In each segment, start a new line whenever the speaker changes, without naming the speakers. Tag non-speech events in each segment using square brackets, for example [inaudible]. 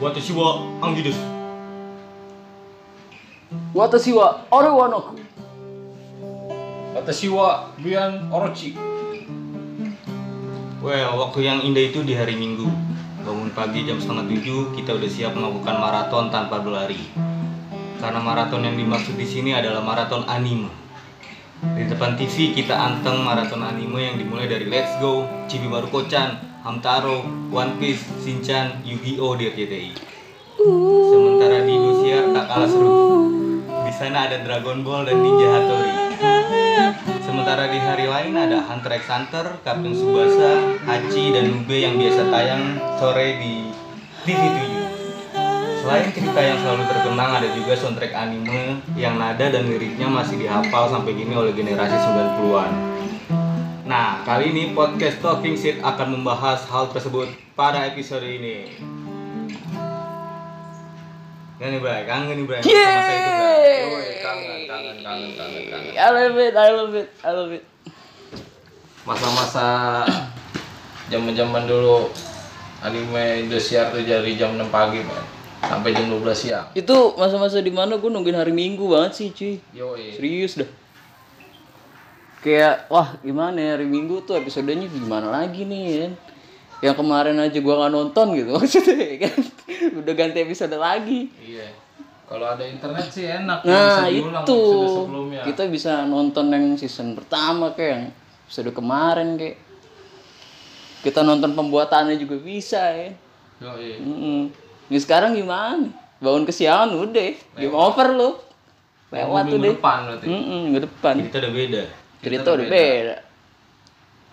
私はアンギです
私はアルワノク
Watashi wa Ryan Orochi.
Well, waktu yang indah itu di hari Minggu Bangun pagi jam setengah tujuh, kita udah siap melakukan maraton tanpa berlari Karena maraton yang dimaksud di sini adalah maraton anime Di depan TV kita anteng maraton anime yang dimulai dari Let's Go, Chibimaru Kocan, Hamtaro, One Piece, Shinchan, Yu-Gi-Oh! di RCTI Sementara di Indosiar tak kalah seru Di sana ada Dragon Ball dan Ninja Hattori Sementara di hari lain ada Hunter x Hunter, Captain Subasa, Hachi, dan Nube yang biasa tayang sore di TV7. Selain cerita yang selalu terkenang, ada juga soundtrack anime yang nada dan liriknya masih dihafal sampai gini oleh generasi 90-an. Nah, kali ini podcast Talking Shit akan membahas hal tersebut pada episode ini. Gak nih, Bray? Kangen nih, Bray? Sama saya itu, Bray.
Yeay
Kangen, kangen, kangen, kangen, kangen.
I love it, I love it, I love it
Masa-masa zaman-zaman dulu anime Indosiar tuh dari jam 6 pagi, men. Sampai jam 12 siang.
Itu masa-masa dimana gue nungguin hari minggu banget sih cuy
Yoi.
Serius dah Kayak, wah gimana ya hari minggu tuh episodenya gimana lagi nih ya kan? Yang kemarin aja gua nggak nonton gitu [laughs] maksudnya ya kan Udah ganti episode lagi
Iya. Kalau ada internet sih enak,
Nah
bisa diulang
itu
episode sebelumnya.
Kita bisa nonton yang season pertama kayak yang episode kemarin kayak Kita nonton pembuatannya juga bisa ya
Yoi.
Mm-mm. Ini sekarang gimana? Bangun kesialan udah Game over lu Lewat
Minggu
udah
depan berarti.
Mm-mm, minggu depan
Kita udah beda.
cerita udah beda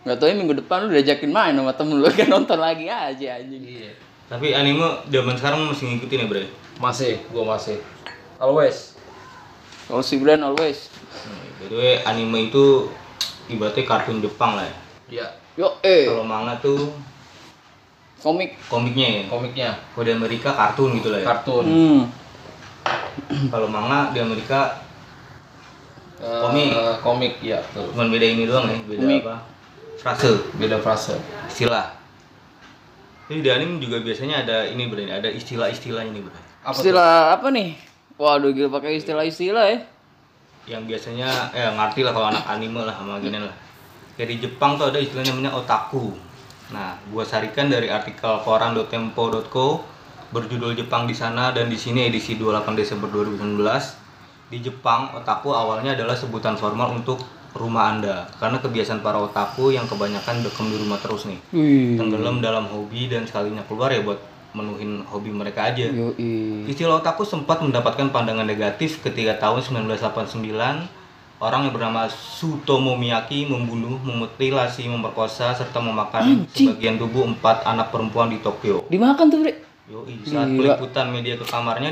nggak tau ya minggu depan lu diajakin main sama temen lu [laughs] kan nonton lagi aja anjing
Iya.
Tapi anime zaman sekarang masih ngikutin ya, Bray?
Masih, gua masih. Always.
kalau si Brian always
Hmm, By the way, anime itu ibaratnya kartun Jepang lah ya.
Iya,
yo eh
Kalau manga tuh
komik
komiknya ya.
komiknya,
Kalau di Amerika kartun gitu lah ya.
kartun.
hmm
Kalau manga di Amerika
Eh,
Komik.
komik, ya, tuh.
cuma beda ini doang ya, beda
Komik.
apa? Frase,
Beda frase.
istilah. Jadi di anime juga biasanya ada ini berarti ada istilah-istilahnya ini berarti.
Apa tuh?
istilah apa nih waduh gila pakai istilah-istilah ya
Yang biasanya eh ngerti lah kalau anak anime lah sama gini lah. Dari Jepang tuh ada istilah namanya otaku. Nah, gua sarikan dari artikel koran.tempo.co berjudul Jepang di sana dan di sini edisi 28 Desember 2019. Di Jepang, otaku awalnya adalah sebutan formal untuk rumah Anda karena kebiasaan para otaku yang kebanyakan dekem di rumah terus nih.
wih
Tenggelam dalam hobi dan sekalinya keluar ya buat menuhin hobi mereka aja.
yo
Istilah otaku sempat mendapatkan pandangan negatif ketika tahun 1989 orang yang bernama Sutomo Miyaki membunuh, memutilasi, memperkosa, serta memakan sebagian tubuh empat anak perempuan di Tokyo.
dimakan tuh bre
Yoi, saat
Gila.
peliputan media ke kamarnya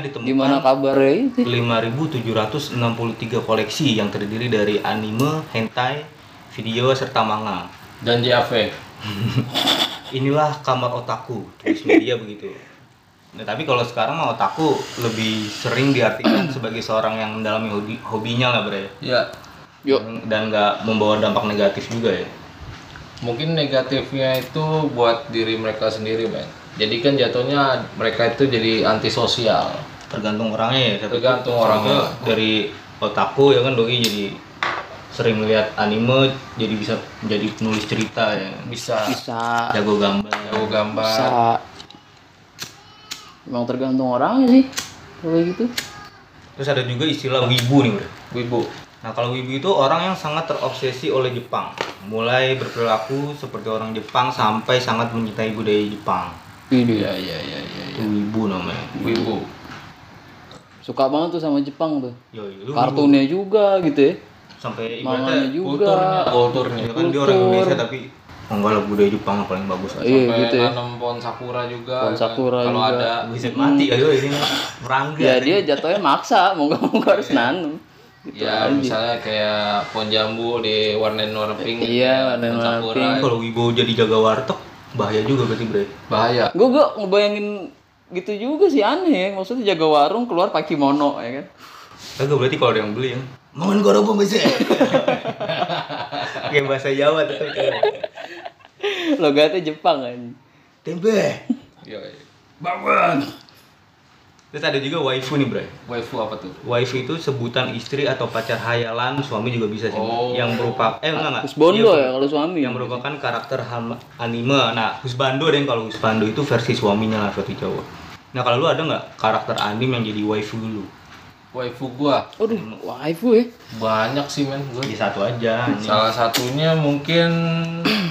ditemukan
gimana kabarnya itu
5.763 koleksi yang terdiri dari anime, hentai, video, serta manga.
Dan JAV.
Inilah kamar otaku, tulis media begitu. Nah, tapi kalau sekarang mah otaku lebih sering diartikan [clears throat] sebagai seorang yang mendalami hobi, hobinya lah bre.
Ya,
yo
Dan nggak membawa dampak negatif juga ya.
mungkin negatifnya itu buat diri mereka sendiri, men. Jadi kan jatuhnya mereka itu jadi antisosial.
Tergantung orangnya ya. tapi
Tergantung
kalau
orangnya.
gua Dari otaku ya kan doi jadi sering melihat anime, jadi bisa jadi penulis cerita ya.
Bisa
bisa
Jago gambar.
jago gambar.
bisa emang tergantung orangnya sih kalau kayak gitu
Terus ada juga istilah wibu nih bre.
Wibu.
Nah, kalau wibu itu orang yang sangat terobsesi oleh Jepang, mulai berperilaku seperti orang Jepang sampai sangat mencintai budaya Jepang.
ini
Ya, ya, ya,
iya,
Itu
ya.
wibu namanya.
Wibu.
suka banget tuh sama Jepang tuh
Yo, lu wibu.
kartunnya juga gitu ya
sampai
manganya
ibaratnya
juga
Kulturnya, kulturnya.
ya kan dia orang
Kultur.
Indonesia tapi oh, enggak lah budaya Jepang yang paling bagus.
Iya
Sampai
gitu ya.
nanam pohon sakura juga.
Pohon
ya kan.
sakura
Kalau
juga.
ada
Bisa mati kali ya ini merangga.
Ya dia jatuhnya maksa, mau
[laughs]
gak mau
Iya.
gua harus nanam. Gitu
ya
aja.
misalnya kayak pohon jambu di warna warna pink
Iya, warnain
pohon
warna
sakura
Tapi kalau wibu jadi jaga warteg bahaya juga berarti bre.
bahaya
Gue gue ngebayangin gitu juga sih aneh ya. Maksudnya jaga warung keluar pakai kimono ya kan.
Kagak berarti kalau ada yang beli ya. Mangan gorobong bisa.
[laughs]
Kayak bahasa Jawa tuh.
Logatnya Jepang kan.
Tempe.
Yoi.
Bangun. Terus ada juga waifu nih, Bro.
Waifu apa tuh?
Waifu itu sebutan istri atau pacar hayalan, suami juga bisa sih.
Oh.
Yang merupakan eh enggak enggak. Iya,
Husbondo ya kalau suami.
yang merupakan karakter ham- anime. Nah, Husbando deh kalau Husbando itu versi suaminya lah versi cowok. Nah, kalau lu ada nggak karakter anime yang jadi waifu lu?
Waifu gua
Aduh, waifu ya.
banyak sih men gua.
Ya satu aja. anjing.
Salah satunya mungkin [clears throat]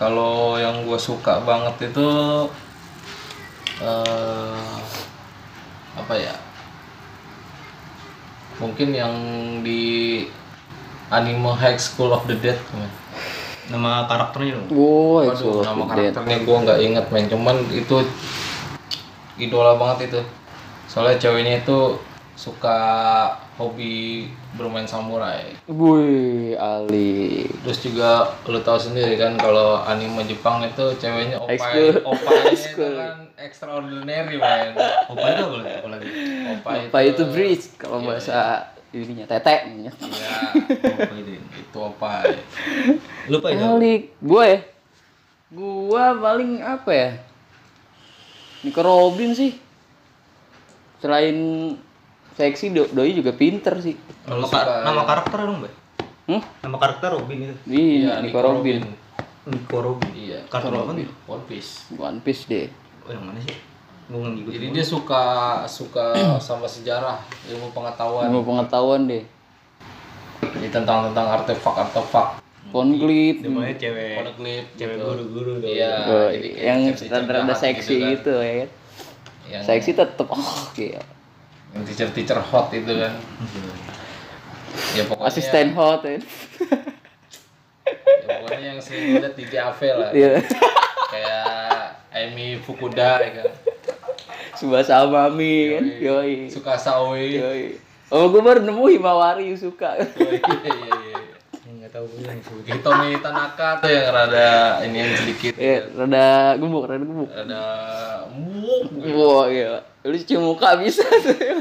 kalau yang gua suka banget itu eh apa ya? Mungkin yang di anime High School of the Dead men.
Nama karakternya dong.
Woi,
Aduh, nama karakternya gue nggak inget men, cuman itu idola banget itu. Soalnya ceweknya itu suka hobi bermain samurai.
Wih, Ali.
Terus juga lu tahu sendiri kan kalau anime Jepang itu ceweknya opai,
Ekskul.
opai itu
Ekskul.
kan extraordinary men.
Opa itu apa lagi? Apa lagi?
Opai
Apa itu bridge kalau bahasa ininya tetek namanya.
Ya,
Opa itu.
itu opai.
Lu apa itu?
Ali, gua ya. Gua paling apa ya? Nico Robin sih. Selain seksi do- doi juga pinter sih.
Nama, kar- nama karakter dong, Bay.
Hmm?
Nama karakter Robin itu.
Iya, Nico, Robin.
Nico Robin.
Iya,
Kartun apa nih?
One Piece.
One Piece deh.
Oh, yang mana sih? Gua nggak ngikutin.
Jadi dia suka suka sama sejarah, ilmu pengetahuan.
Ilmu pengetahuan deh.
Jadi tentang tentang artefak artefak
Ponglip.
Namanya cewek.
poneglyph
Cewek
gitu.
guru-guru dong.
Iya.
Oh,
jadi kayak
yang
cewek-cewek
rada
jahat
seksi
kan.
gitu, ya kan.
Yang,
Seksi tetep oh gila.
yang teacher teacher hot itu kan.
Iya.
ya pokoknya
Asisten hot ya.
ya pokoknya yang sering lihat di TAV lah.
Iya. [laughs]
Kayak Amy Fukuda ya kan.
Subasa Mami kan. Yoi.
Suka Saoi. Iya
Yoi. Oh, gue baru nemu Himawari Yusuka.
iya iya.
Enggak tahu gue yang sebut.
Hitomi Tanaka tuh yang rada ini yang sedikit
Ya, rada gemuk, rada gemuk.
rada muk.
Wah, gila. Lu cuci muka bisa [laughs] tuh. ya.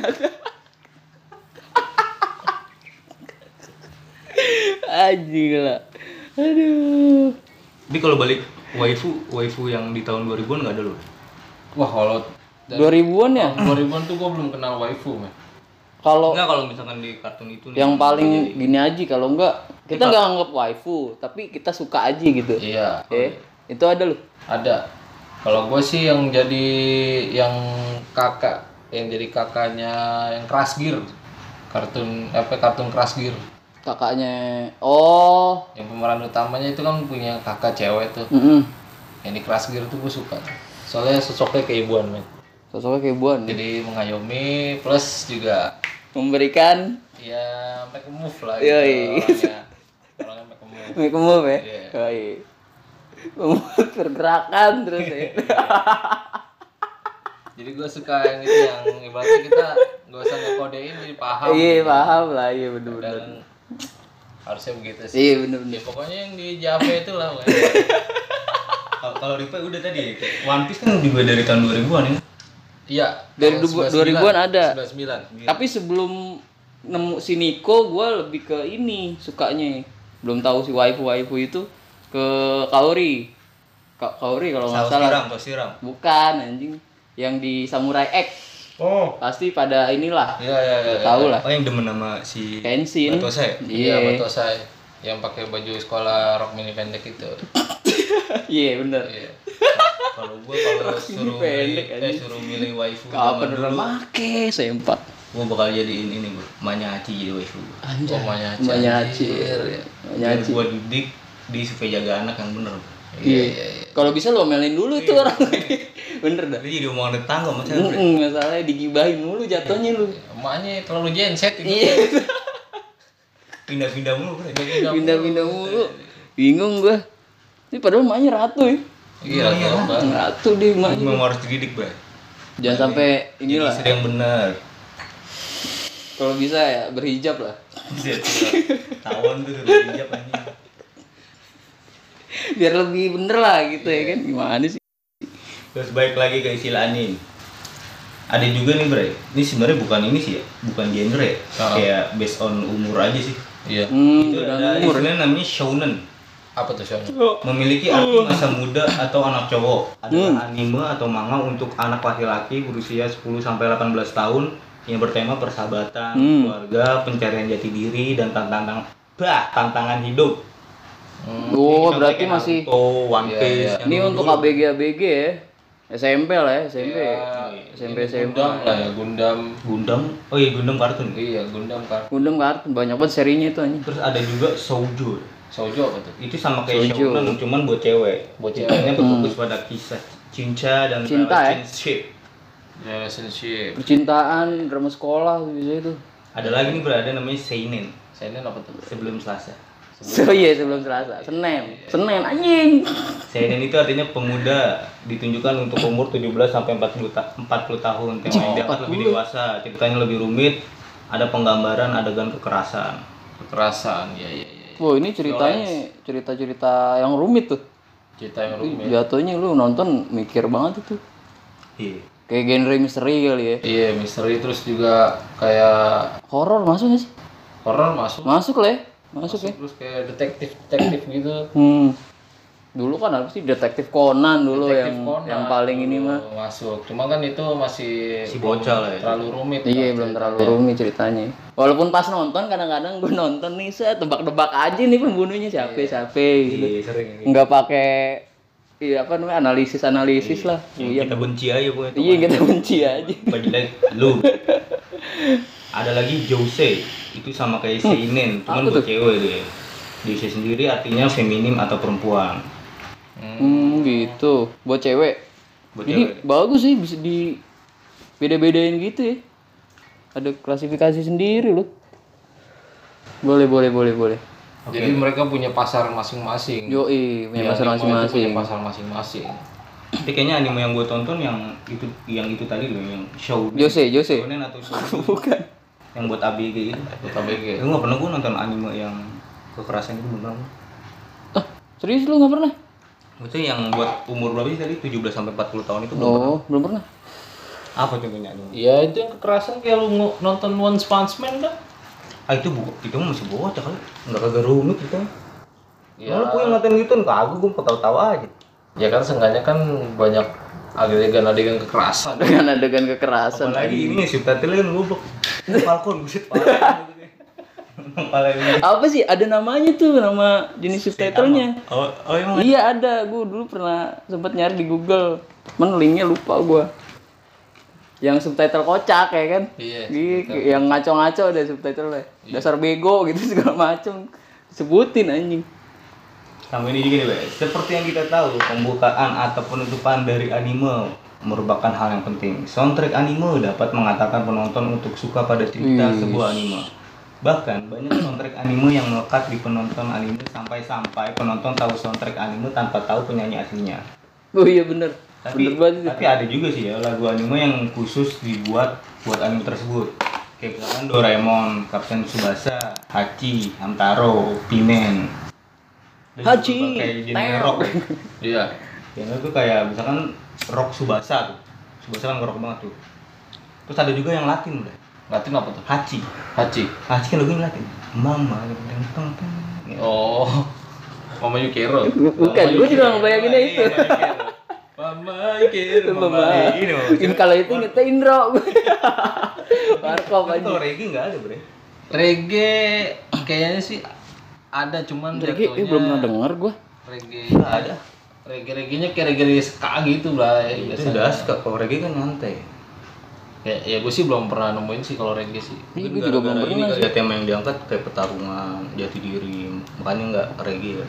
Anjing lah. Aduh.
Tapi kalau balik waifu, waifu yang di tahun 2000-an enggak ada lu.
Wah kalau
2000-an ya?
2000-an tuh gua belum kenal waifu, men.
Kalau
Enggak kalau misalkan di kartun itu nih.
yang paling gini aja kalau enggak kita nggak anggap waifu, tapi kita suka aja gitu.
Iya.
Eh, itu ada loh.
Ada. Kalau gue sih yang jadi yang kakak, yang jadi kakaknya yang Crash Gear. Kartun apa kartun Crash Gear.
Kakaknya. Oh.
Yang pemeran utamanya itu kan punya kakak cewek tuh.
Mm-mm.
Yang di Crash Gear tuh gue suka. Soalnya sosoknya keibuan, men.
Sosoknya kayak buan.
Jadi mengayomi plus juga
Memberikan
ya make a move lah [laughs]
Yoi.
gitu orangnya. Orangnya make a move.
make a move ya.
Iya.
Yoi. Membuat pergerakan terus ya.
Jadi gue suka yang itu yang ibaratnya kita gak usah ngekodein jadi [laughs] paham.
Iya, paham lah. Iya, bener-bener.
Dan harusnya begitu sih.
Iya, bener-bener.
Ya pokoknya yang di Java itu lah. men.
Kalau- kalau Ripe udah tadi One Piece kan juga dari tahun 2000-an ya.
Iya.
Dari
tahun
dubu-
99,
2000-an ada.
99.
Tapi sebelum nemu si Niko, gue lebih ke ini sukanya. Belum tahu si waifu waifu itu ke Kaori. Ka Kaori kalau nggak
Saus
salah.
tiram, saus tiram.
Bukan anjing. Yang di Samurai X
Oh.
pasti pada inilah.
Iya iya iya.
Tahu lah.
Oh yang demen sama si
Kenshin.
Batose ya?
Iya,
Iya.
betul saya yang pakai baju sekolah rok mini pendek itu.
[laughs] Iya, bener.
Iya.
Kalau gua
[laughs]
kalau suruh milih,
pendek,
eh,
anjing.
suruh milih waifu zaman
Kapan udah
dulu,
make sempat.
gua bakal jadiin ini gua, Manyaci jadi waifu. gua.
Anjay.
Rumahnya Haji.
Rumahnya Haji.
Oh, Iya.
Rumahnya
Biar
Haji.
gua didik di supaya jaga anak yang bener.
Iya. Kalau bisa lo melin dulu
Iya.
tuh orang. [laughs] bener dah.
Tapi jadi omongan tetangga macam
Mm -mm, masalahnya digibahin mulu jatuhnya lu.
Emaknya terlalu genset itu.
Iya.
pindah-pindah mulu bro.
pindah-pindah mulu bingung gua ini padahal emaknya ratu ya
Iya, lomba.
ratu deh emaknya
Memang harus dididik bro.
jangan sampai
Jadi
inilah
istri yang bener.
kalau bisa ya berhijab lah
Tawon tuh udah hijab anjing.
biar lebih bener lah gitu ya kan gimana sih
Terus baik lagi ke istilah anime. Ada juga nih Bre, ini sebenarnya bukan ini sih ya, bukan genre ya,
Ah.
kayak based on umur aja sih.
Iya.
hmm
Itu ada
udah umur
iya. istilahnya namanya shounen.
apa tuh shownya
Memiliki arti masa muda atau anak cowok adalah anime atau manga untuk anak laki-laki berusia 10 sampai 18 tahun yang bertema persahabatan,
Hmm.
keluarga, pencarian jati diri dan tantangan bah, tantangan hidup.
Oh,
Jadi
berarti
contohnya
masih
Naruto, One
Iya,
Piece.
iya.
yang
ini untuk
dulu-dulu.
ABG ABG ya. SMP lah ya, SMP. SMP
ini
SMP.
Gundam lah ya Gundam
Gundam. Oh iya, Gundam kartun.
iya Gundam kan
Gundam kartun banyak banget serinya itu anjing.
Terus ada juga Shoujo.
Shoujo apa tuh
Itu sama kayak
Shoujo.
Shonen cuman buat cewek.
Buat cewek. Hmm. eh?
Ceritanya berfokus pada kisah cinta dan eh,
Cinta, ya?
relationship.
Ya, relationship
Percintaan, drama sekolah bisa itu.
Ada lagi nih berada namanya Seinen
Seinen apa tuh
sebelum Selasa.
So iya sebelum Selasa, Senin. Senin anjing.
Seinen itu artinya pemuda ditunjukkan untuk umur 17 sampai 40 ta- 40 tahun. Tema ideal lebih dewasa, ceritanya lebih rumit, ada penggambaran adegan kekerasan.
kekerasan ya ya ya
Wah, ini ceritanya cerita-cerita yang rumit tuh.
cerita yang rumit
Jatuhnya lu nonton mikir banget itu.
Iya.
Kayak genre misteri kali ya.
iya misteri terus juga kayak
Horor masuk gak sih?
horor masuk
Masuk lah ya. Masuk ya.
terus kayak detektif detektif gitu
Hmm. Dulu kan apa sih detektif Conan dulu yang
Conan
yang paling ini mah.
dulu masuk cuma kan itu masih
Si bocah lah ya.
terlalu rumit
Iya belum terlalu rumit ceritanya. Walaupun pas nonton kadang-kadang gue nonton nih saya tebak-tebak aja nih pembunuhnya siapa siapa gitu.
Iya, sering ini.
Nggak pakai iya apa namanya analisis-analisis lah.
Yang
Iya.
kita benci aja pokoknya.
Iya kita benci aja.
Penjelek lu. Ada lagi Jose, itu sama kayak Seinen, cuman buat cewek dia. Jose sendiri artinya feminim atau perempuan.
Hmm gitu. Buat cewek.
Buat
Ini
cewek.
bagus sih bisa di beda-bedain gitu ya. Ada klasifikasi sendiri loh. Boleh boleh boleh boleh.
jadi mereka punya pasar masing-masing
Yoi Iya, punya pasar
Anime itu
masing-masing.
punya pasar masing-masing
Tapi kayaknya anime yang gue tonton yang itu yang itu tadi loh yang show
Jose Jose.
Shonen atau show
Bukan.
yang buat ABG itu.
Kota BG
Gue nggak pernah gue nonton anime yang kekerasan itu belum pernah.
Ah serius lu nggak pernah?
Maksudnya yang buat umur berapa sih tadi? 17 sampai 40 tahun itu belum.
Oh, belum pernah.
Apa contohnya anime?
ya itu yang kekerasan kayak lu ngo- nonton One Punch Man kan
Ah itu bu, itu mah masih bocah kali. Enggak kagak rumit gitu.
ya,
Ya. Malah gue yang ngatain gitu kagak gue ketawa-tawa aja.
ya kan seenggaknya kan banyak adegan-adegan kekerasan
Dengan adegan kekerasan.
Apalagi ini subtitle kan goblok. [laughs] Falcon buset Falcon. Kepala ini.
Apa sih ada namanya tuh nama jenis subtitlenya?
Oh, oh emang
Iya ada, gue dulu pernah sempet nyari di Google, cuman linknya lupa gue. Yang subtitle kocak ya kan?
Iya,
Di- yang ngaco-ngaco ada subtitle ya.
Iya.
Dasar bego gitu [laughs] segala macem. Sebutin anjing.
Sama ini juga nih, Bay. Seperti yang kita tahu, pembukaan atau penutupan dari anime merupakan hal yang penting. Soundtrack anime dapat mengatakan penonton untuk suka pada cerita sebuah anime. Bahkan banyak soundtrack anime yang melekat di penonton anime sampai-sampai penonton tahu soundtrack anime tanpa tahu penyanyi aslinya.
Oh iya bener.
Tapi,
bener banget. itu.
tapi ada juga sih ya lagu anime yang khusus dibuat buat anime tersebut. Kayak misalkan Doraemon, Kapten Tsubasa, Hachi, Hamtaro, Pimen. Dan
Hachi,
berbagai genre
Teo.
rock.
iya
Genre tuh kayak misalkan rock Tsubasa tuh. Tsubasa kan rock banget tuh. Terus ada juga yang Latin udah.
Latin apa tuh
Hachi.
Hachi
Hachi kan lagunya Latin. Mama teng teng teng. Ya.
oh Mama Yukiro
Bukan, gue juga ngebayanginnya
Oh, Iya,
itu.
iya, iya.
Mama Yukiro
[laughs] Mama. Iya,
Ini, Mama.
Ini kalau itu kita Indro. [laughs] Warkop
Tapi
aja.
kalau reggae nggak ada bre.
Reggae kayaknya sih ada cuman
Reggae, eh, belum pernah denger gue.
reggae
Nggak ada.
reggae reggae kayak reggae ska gitu lah ya,
Itu
Iya.
biasanya.
udah suka kalau reggae kan nyantai.
ya, ya gue sih belum pernah nemuin sih kalau reggae sih
Ini gue juga belum [laughs]
Gara-gara ini
pernah.
kali ya tema yang diangkat kayak pertarungan jati diri makanya nggak reggae ya.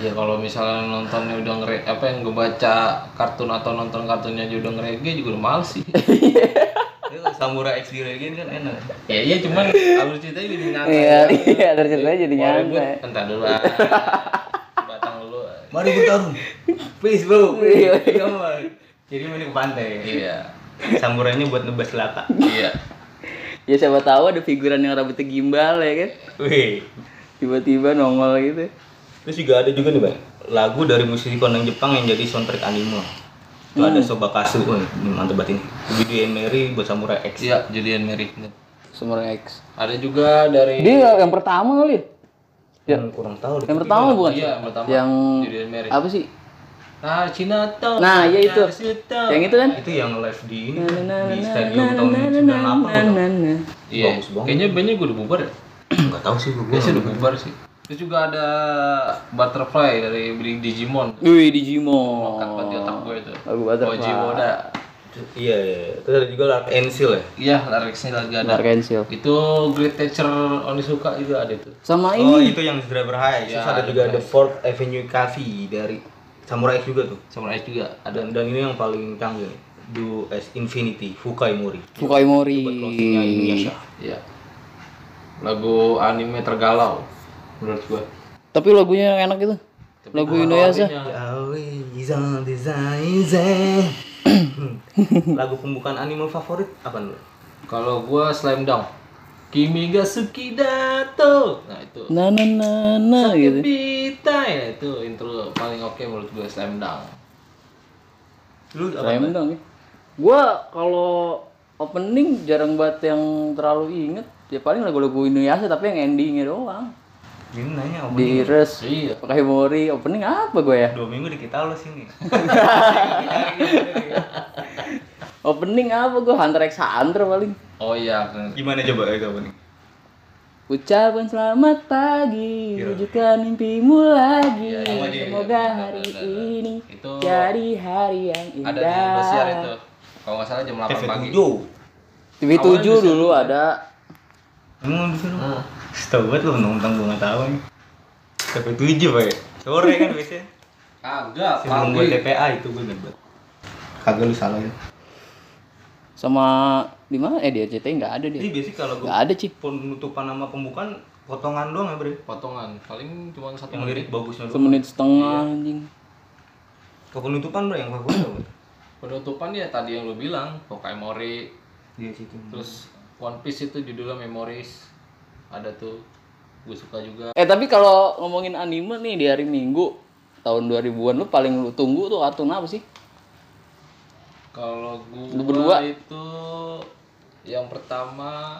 ya kalau misalnya nontonnya udah ngere apa yang gue baca kartun atau nonton kartunnya aja udah ngereggae juga udah males
[laughs]
sih
Tapi kalau samurai X di reggae kan enak
ya iya cuman alur ceritanya jadi nyantai
Iya, iya, ada ceritanya jadi
Walaupun-
nyantai.
entar dulu
[laughs]
ah. batang dulu ah.
mari bertarung please bro Come on. Iya. jadi main ke pantai
iya
samurainya buat nebas lata
iya
Ya siapa tahu ada figuran yang rambutnya gimbal ya kan.
Wih.
Tiba-tiba nongol gitu.
terus juga ada juga nih bang lagu dari musisi kondang Jepang yang jadi soundtrack anime itu ada Sobakasu, Wih, ini mantep banget ini. Video and Mary buat Samurai X.
iya Julian Merrick
Summer X.
ada juga dari
Dia yang pertama kali. ya? Ya.
Hmm, kurang tahu deh.
Yang pertama bukan?
Iya, yang pertama.
Yang
Julian Mary.
apa sih?
Nah, Cina tau.
Nah, iya itu. Yang itu kan?
itu yang live di ini kan, di stadion tahun 98
Iya.
Bagus banget.
Kayaknya bandnya gue udah bubar ya.
nggak tahu sih gue
Kayaknya sih udah bubar sih. Terus juga ada Butterfly dari beli Digimon.
Wih, Digimon.
Kat buat di otak gue itu.
Lagu Butterfly.
Oji Woda.
iya iya terus ada juga Lark Ensil ya
Iya, lyricsnya lagi ada.
Dark Angel.
Itu Great Teacher Onisuka juga ada itu.
Sama
oh
Nah, ini.
itu yang Driver High terus ada juga The Fourth Avenue Cafe dari Samurai X juga tuh
Samurai X juga ada.
dan dan ini yang paling canggih nih. Do as Infinity Fukai Mori
Fukai Mori.
closingnya Indonesia
Iya. Lagu anime tergalau menurut gue.
Tapi lagunya enak gitu. Lagu Indonesia.
Hmm. lagu pembukaan anime favorit apa lu?
Kalau gue Slam Dunk. Kimi ga Suki Dato. Nah, itu.
Na na na na gitu.
Bita ya itu intro paling oke menurut gue Slam Dunk.
Lu apa?
Slam dong ya. Gua kalau opening jarang banget yang terlalu inget. Ya paling lagu-lagu Indonesia tapi yang endingnya doang.
Ini nanya apa?
Di Res,
Iya.
Fukai Mori opening apa gue ya?
Dua minggu di kita lu [laughs] sini.
Opening apa gue Hunter x Hunter paling.
Oh iya. kan.
Gimana coba ya kapan nih?
Ucapan selamat pagi, wujudkan mimpimu lagi.
Iya, iya, iya,
Semoga
iya,
hari
benar, benar, benar.
ini
Itu
jadi hari yang
Ada di Indosiar
indah.
itu. Kalau nggak salah jam 8
TV
pagi.
7
TV 7 dulu
kan?
ada.
Emang bisa lu?
Ah.
Setahu gue lu nonton gue nggak tahu nih. Sampai tujuh pak ya? Sore kan biasanya.
Kagak,
Sebelum gue
pagi.
TPA itu gue debat. Kagak lu salah ya?
Sama di mana? Eh di RCTI nggak ada
Jadi
dia.
biasanya kalau gue
Nggak ada sih.
penutupan nama pembukaan potongan doang ya bre.
Potongan. Paling cuma satu
Yang lirik bagusnya doang.
Semenit setengah
Iya.
anjing.
Ke penutupan bre yang favorit apa?
Penutupan ya tadi yang lu bilang, Pokemori,
Iya situ.
terus
Hmm.
One Piece itu judulnya Memories. Ada tuh. Gue suka juga.
Eh tapi kalau ngomongin anime nih di hari Minggu tahun 2000-an lu paling lu tunggu tuh atun apa sih?
Kalau
Lu berdua?
gua itu yang pertama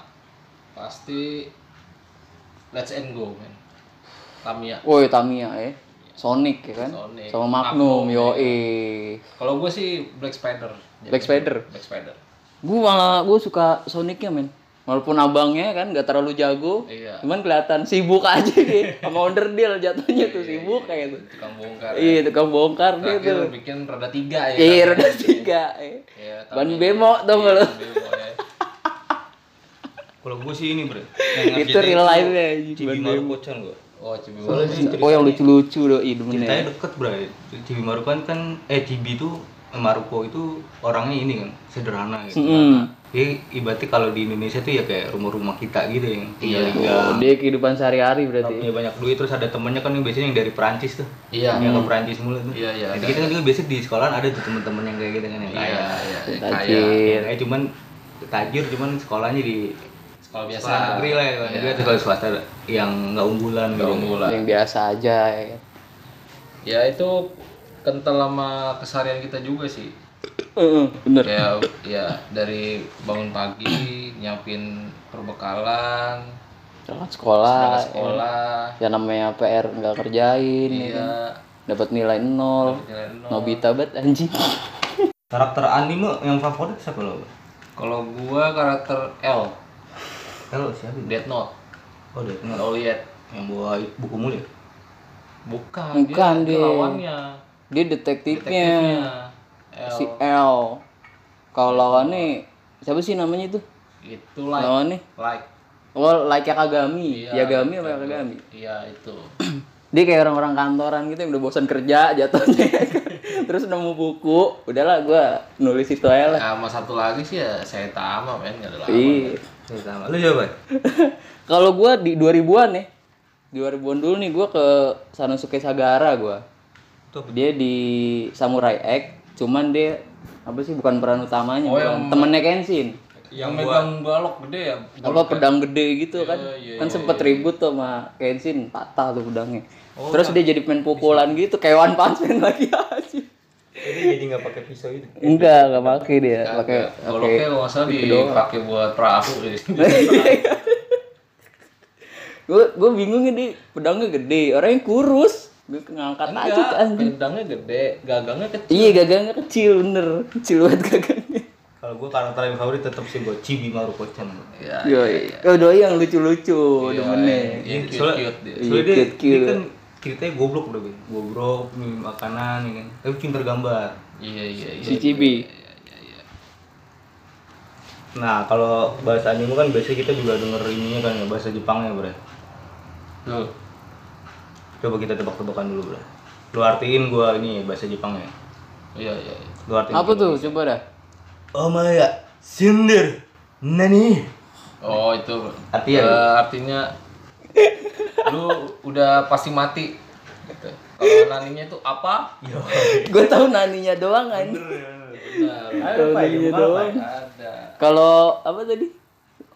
pasti Let's and Go, men. Tamiya.
Woi Tamiya eh. Sonic ya kan?
Sonic.
Sama Magnum,
Magnum, iya.
yo
Kalau gue sih Black Spider.
Black Spider.
Black Spider.
gue malah gue suka Sonicnya men walaupun abangnya kan nggak terlalu jago
Iya.
cuman kelihatan sibuk
[laughs]
aja dia sama underdeal jatuhnya tuh sibuk kayak gitu
Tukang bongkar.
iya tukang bongkar dia
Iya, Terakhir
tuh
bikin roda tiga ya.
iya roda tiga eh.
Iya, tapi-
ban bemo tau gak
Iya,
lo
ban bemo, ya.
Kalau gue sih ini bre.
[laughs] itu real life nya
Iya.
Cibi Maru Kocan gue.
Oh, cibi
Soalnya sih
oh yang lucu lucu doi demen ya
ceritanya deket bre. Cibi Maru kan kan eh Cibi itu Maruko itu orangnya ini kan sederhana gitu.
Mm.
Jadi ibaratnya kalau di Indonesia tuh ya kayak rumah-rumah kita gitu yang tinggal
Iya.
Oh, dia kehidupan sehari-hari
nggak
berarti
punya banyak duit terus ada temennya kan yang biasanya yang dari Perancis tuh
Iya.
yang ke Perancis mulu tuh
Iya, iya,
jadi
ada,
kita kan juga biasanya di sekolahan ada tuh temen-temen yang kayak gitu kan yang kaya
Iya, iya, iya, kayak
tajir
kayak cuman tajir cuman sekolahnya di
sekolah biasa. iya.
sekolah negeri lah ya kan Dia tuh sekolah swasta yang nggak unggulan gitu
Unggulan.
yang biasa aja ya kan.
Ya itu kental sama keseharian kita juga sih.
Heeh, bener
Ya, ya dari bangun pagi, nyiapin perbekalan,
Berangkat sekolah
berangkat sekolah,
ya namanya PR nggak kerjain ya kan.
iya,
dapat nilai nol
jalan nol.
Nobita bet anjing.
karakter anime yang favorit siapa lo
Kalau gua karakter L,
kalau siapa itu?
Death Note,
oh dia kenal
Oliet.
yang bawa buku ya? mulia
Bukan,
Bukan,
dia, dia
dia.
lawannya.
Dia detektifnya
Detektifnya. L.
si L. Kalau lawannya siapa sih namanya itu?
Itu like,
Lawannya
like.
Oh, like Yakagami.
Iya,
Yagami apa Yakagami?
Iya, itu.
Dia kayak orang-orang kantoran gitu yang udah bosan kerja jatuhnya. [laughs] Terus nemu buku, udahlah gua nulis itu aja lah.
Sama satu lagi sih ya saya tama men, enggak ada lawan.
Iya.
Saya sama lu siapa
[laughs] Kalau gua di 2000-an nih. 2000-an dulu nih gua ke Sanosuke Sagara gua.
tuh apa?
Dia di Samurai X, cuman dia apa sih bukan peran utamanya, bukan. temennya Kenshin.
Yang megang balok gede ya.
apa pedang gede gitu kan
iya,
kan sempet ribut tuh sama Kenshin patah tuh pedangnya terus dia jadi main pukulan gitu kayak One Punch Man [laughs] lagi aja
Jadi jadi nggak pakai pisau itu
enggak enggak pakai dia pakai Iya, [laughs]
Goloknya kalau nggak salah dipakai buat perahu gitu.
pakai gue gue bingung ini pedangnya gede orangnya kurus gue ngangkat aja
Enggak,
kan
Ya, pedangnya gede, gagangnya kecil.
iya gagangnya kecil bener kecil banget gagangnya
Kalau gue karakter yang favorit tetap si Boci Bimaru Kocan.
Ya,
Yoi. Oh, doi yang lucu-lucu demennya.
yang cute,
Soalnya,
cute dia.
soalnya
Iya,
dia,
cute,
dia
cute.
kan ceritanya goblok udah gue. Goblok, minum makanan, ya kan. Tapi pinter gambar.
Iya, iya, iya.
Si Cibi.
Nah, kalau bahasa anime kan biasanya kita juga denger ininya kan ya, bahasa Jepangnya, Bre.
Tuh.
Coba kita tebak-tebakan dulu, Bre. Lu artiin gua ini ya, bahasa Jepangnya.
Iya, iya, iya.
Lu artiin.
Apa tuh? Coba [laughs] dah.
Oh my god, Cinder. Nani?
Oh, itu.
Artinya?
Ya.
Eh, artinya
[laughs]
lu udah pasti mati. Gitu. Kalau naninya itu apa?
Yo.
Gue tahu naninya doang kan.
Ayo, Pak,
Naninya
Jepang,
doang.
Ada.
Kalau apa tadi?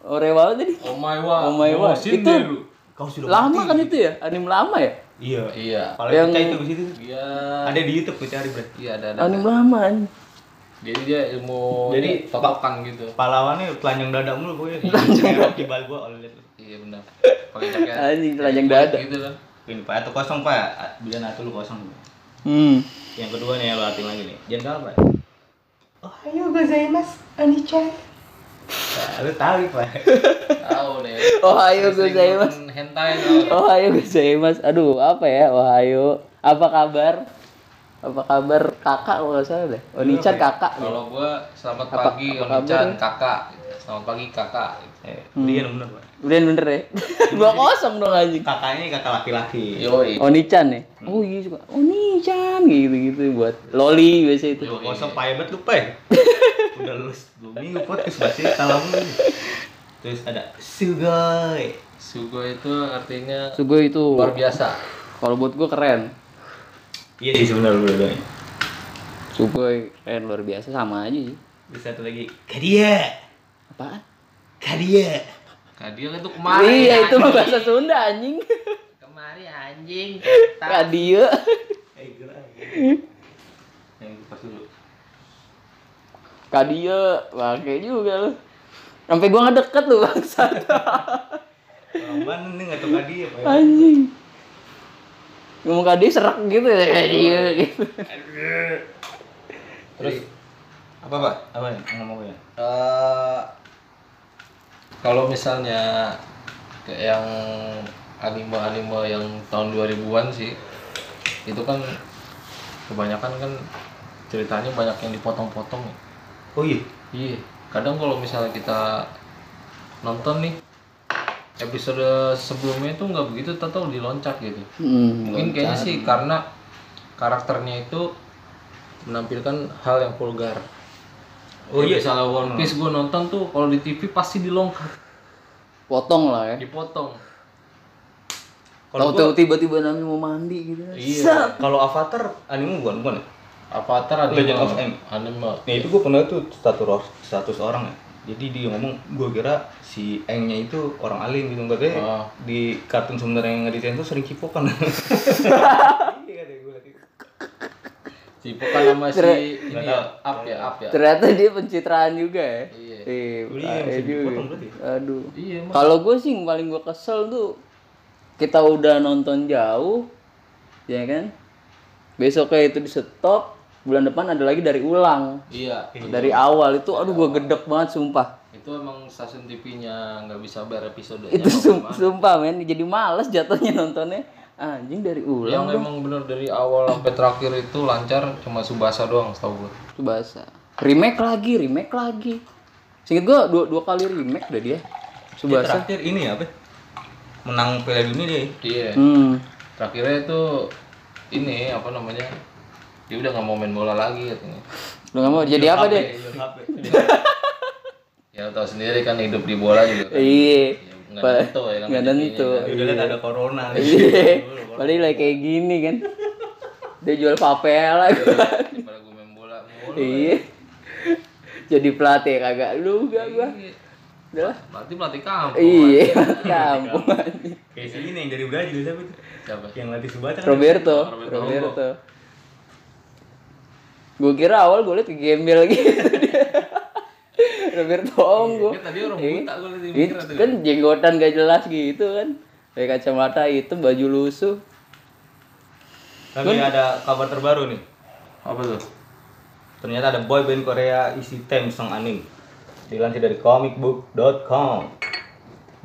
Orewa tadi?
Oh my wa.
Oh my wa.
Momoshinde
Itu-
lu.
Kau sudah
Lama
mati.
kan itu ya? Anime lama ya?
Iya.
Iya.
Paling
Yang-
pecah itu di situ.
Dia
Ada di YouTube gue cari, Bre.
iya ada ada.
Anime lama kan.
Jadi dia ilmu
Jadi,
totokan gitu.
Pahlawannya telanjang dada mulu gue. Telanjang dada. Kibal gue oleh lihat.
Iya
[laughs]
benar. Pakai jaket.
Anjing telanjang dada.
Gitu lah.
Ini Pak, itu kosong, Pak. Bila natu lu kosong.
Hmm.
Yang kedua nih, lu artiin lagi nih. Jangan kalah, Pak. Ohayo gozaimasu, Anichan. Nah, lu tahu, Pak.
Tahu
[laughs]
deh.
Ohayo
Sering
gozaimasu.
nonton Hentai tau.
Ohayo gozaimasu. Aduh, apa ya? Ohayo. Apa kabar? Apa kabar kakak kalau nggak salah deh. Onichan kakak.
Kalau gua selamat
Apa-
pagi
apa
Onichan
kabar?
kakak. Selamat pagi kakak.
Eh, dia yang bener, Pak.
Udah bener ya? [laughs] Dua kosong dong anjing.
Kakaknya kakak laki-laki.
Yoi.
Onichan ya?
Hmm.
Oh iya suka Onichan gitu-gitu buat Loli biasa itu.
Lu kosong payah banget lu, Pak. Udah lulus 2 minggu podcast bahasnya salah mulu. Terus ada Sugoi.
Sugo itu artinya
Sugo itu
luar biasa.
kalau buat gue keren.
Iya sih sebenarnya lu doang.
Sugo keren luar biasa sama aja sih.
Terus satu lagi, Kadia.
Apaan?
Kadia.
Kadir Nah, itu kemarin.
iya itu mah
anjing.
bahasa Sunda anjing.
Kemarin
[laughs]
anjing.
Kak dia.
Eh, gila. Yang pas dulu.
Kak dia pakai juga lu. Sampai gua ngedeket lu bangsa.
[laughs]
Orang Bandung nih nggak tahu Kadia, Pak.
Anjing. Ngomong kak dia serak gitu ya. Kak
Iya.
dia gitu.
Terus
Apa, Pak? Apa ya? yang ngomongnya?
eh, kalau misalnya kayak yang anime-anime yang tahun 2000-an sih itu kan kebanyakan kan ceritanya banyak yang dipotong-potong ya.
Oh iya.
Iya, kadang kalau misalnya kita nonton nih episode sebelumnya itu nggak begitu tahu diloncat gitu.
Hmm.
Mungkin kayaknya sih karena karakternya itu menampilkan hal yang vulgar.
Oh iya.
Misalnya One Piece gue nonton tuh kalau di TV pasti dilongkat,
Potong lah ya.
dipotong.
Kalau
Tahu-tahu tiba-tiba Nami mau mandi gitu.
Iya.
Kalau Avatar anime bukan bukan ya?
Avatar anime.
Legend of M.
Anime.
Nah itu gue pernah tuh status or- status orang ya. Jadi dia ngomong, gue kira si Engnya itu orang alim gitu enggak deh.
Ah.
Di kartun sebenarnya yang ngeditain tuh sering cipokan. Iya deh gue liat itu.
Cipokan sama si ini ya, up ya, up ya.
Ternyata dia pencitraan juga ya.
Iya.
Eh,
Iya,
bahaya
bisa
juga.
dipotong berarti.
Aduh.
Iya, emang.
Kalau gue sih yang paling gue kesel tuh kita udah nonton jauh, ya kan? Besoknya itu di stop, bulan depan ada lagi dari ulang.
Iya.
Dari awal itu aduh gue gedek banget sumpah.
Itu emang stasiun TV-nya nggak bisa bayar episode
Itu sum- sumpah men, jadi males jatuhnya nontonnya. Anjing dari ulang.
Yang emang bener dari awal sampai terakhir itu lancar cuma Subasa doang setahu gue.
Itu bahasa. Remake lagi, remake lagi. Singkat gue dua, dua kali remake udah
Dia
dia. Subasa.
terakhir ini ya apa? Menang Piala Dunia dia. ya?
Iya.
Hmm.
Terakhirnya itu ini apa namanya? Dia udah nggak mau main bola lagi katanya.
Lu nggak mau jadi
Iya,
apa deh?
Ya tahu sendiri kan hidup di bola juga. Kan.
Iya.
Ya,
Pa-
nggak tentu ya kan.
Nggak
rezekinya
tentu.
[laughs] kan.
Ya udah liat ada corona.
Iya. Paling lagi kayak gini kan. Dia jual papela kan.
Daripada gue main bola mulu.
[laughs] Iya. Jadi pelatih kagak lu gak gua.
Iya.
Udah lah.
Berarti pelatih kampung.
Iya, kampung.
Kayak si ini yang dari Brazil siapa itu?
Siapa?
Yang latih Subata kan?
Roberto,
Roberto.
Roberto. Gue kira awal gue liat ke gembel gitu [laughs] dia. Roberto Iya. Onggo.
Dia Iya, kan tadi orang buta gue liat di
Ih,
mikir tuh.
kan jenggotan gak jelas gitu kan Pakai kacamata hitam, baju lusuh.
Tapi ada kabar terbaru nih.
Apa tuh?
Ternyata ada boy band Korea isi Tem Song Anim. Dilansir dari comicbook.com.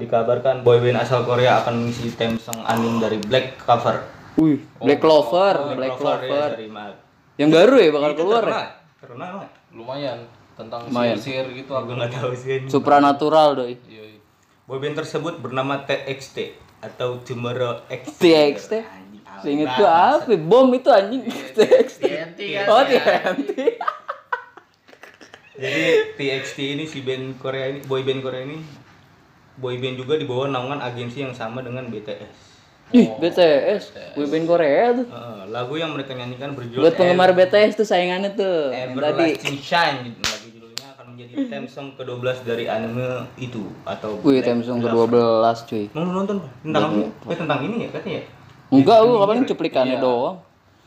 Dikabarkan boy band asal Korea akan mengisi Tem Song Anim dari Black Cover.
Wih, Black Clover, Black
Cover ya,
Clover.
dari Mark.
Yang baru ya bakal keluar ya?
Terkenal. Terkenal nggak?
Lumayan tentang
Lumayan.
sihir gitu Iya.
Wah,
apa.
gue nggak tahu sih. ini.
Supranatural doi.
Yoi.
Boyband tersebut bernama TXT atau Tomorrow X.
TXT. Seinget gua apa? Bom itu anjing. [laughs] TXT. Oh, TNT.
Jadi TXT ini si band Korea ini, boy band Korea ini boyband juga di bawah naungan agensi yang sama dengan BTS.
Ih, BTS. Boyband Korea tuh.
Eh, lagu yang mereka nyanyikan berjudul
Buat penggemar BTS tuh saingannya tuh. Yang tadi.
Everlasting Shine. Lagu judulnya akan menjadi theme song ke-12 dari anime itu atau
Wih, Samsung ke-12 cuy.
Mau lu nonton Pak? tentang apa? Eh, tentang ini ya katanya ya?
Enggak, gua paling cuplikannya doang.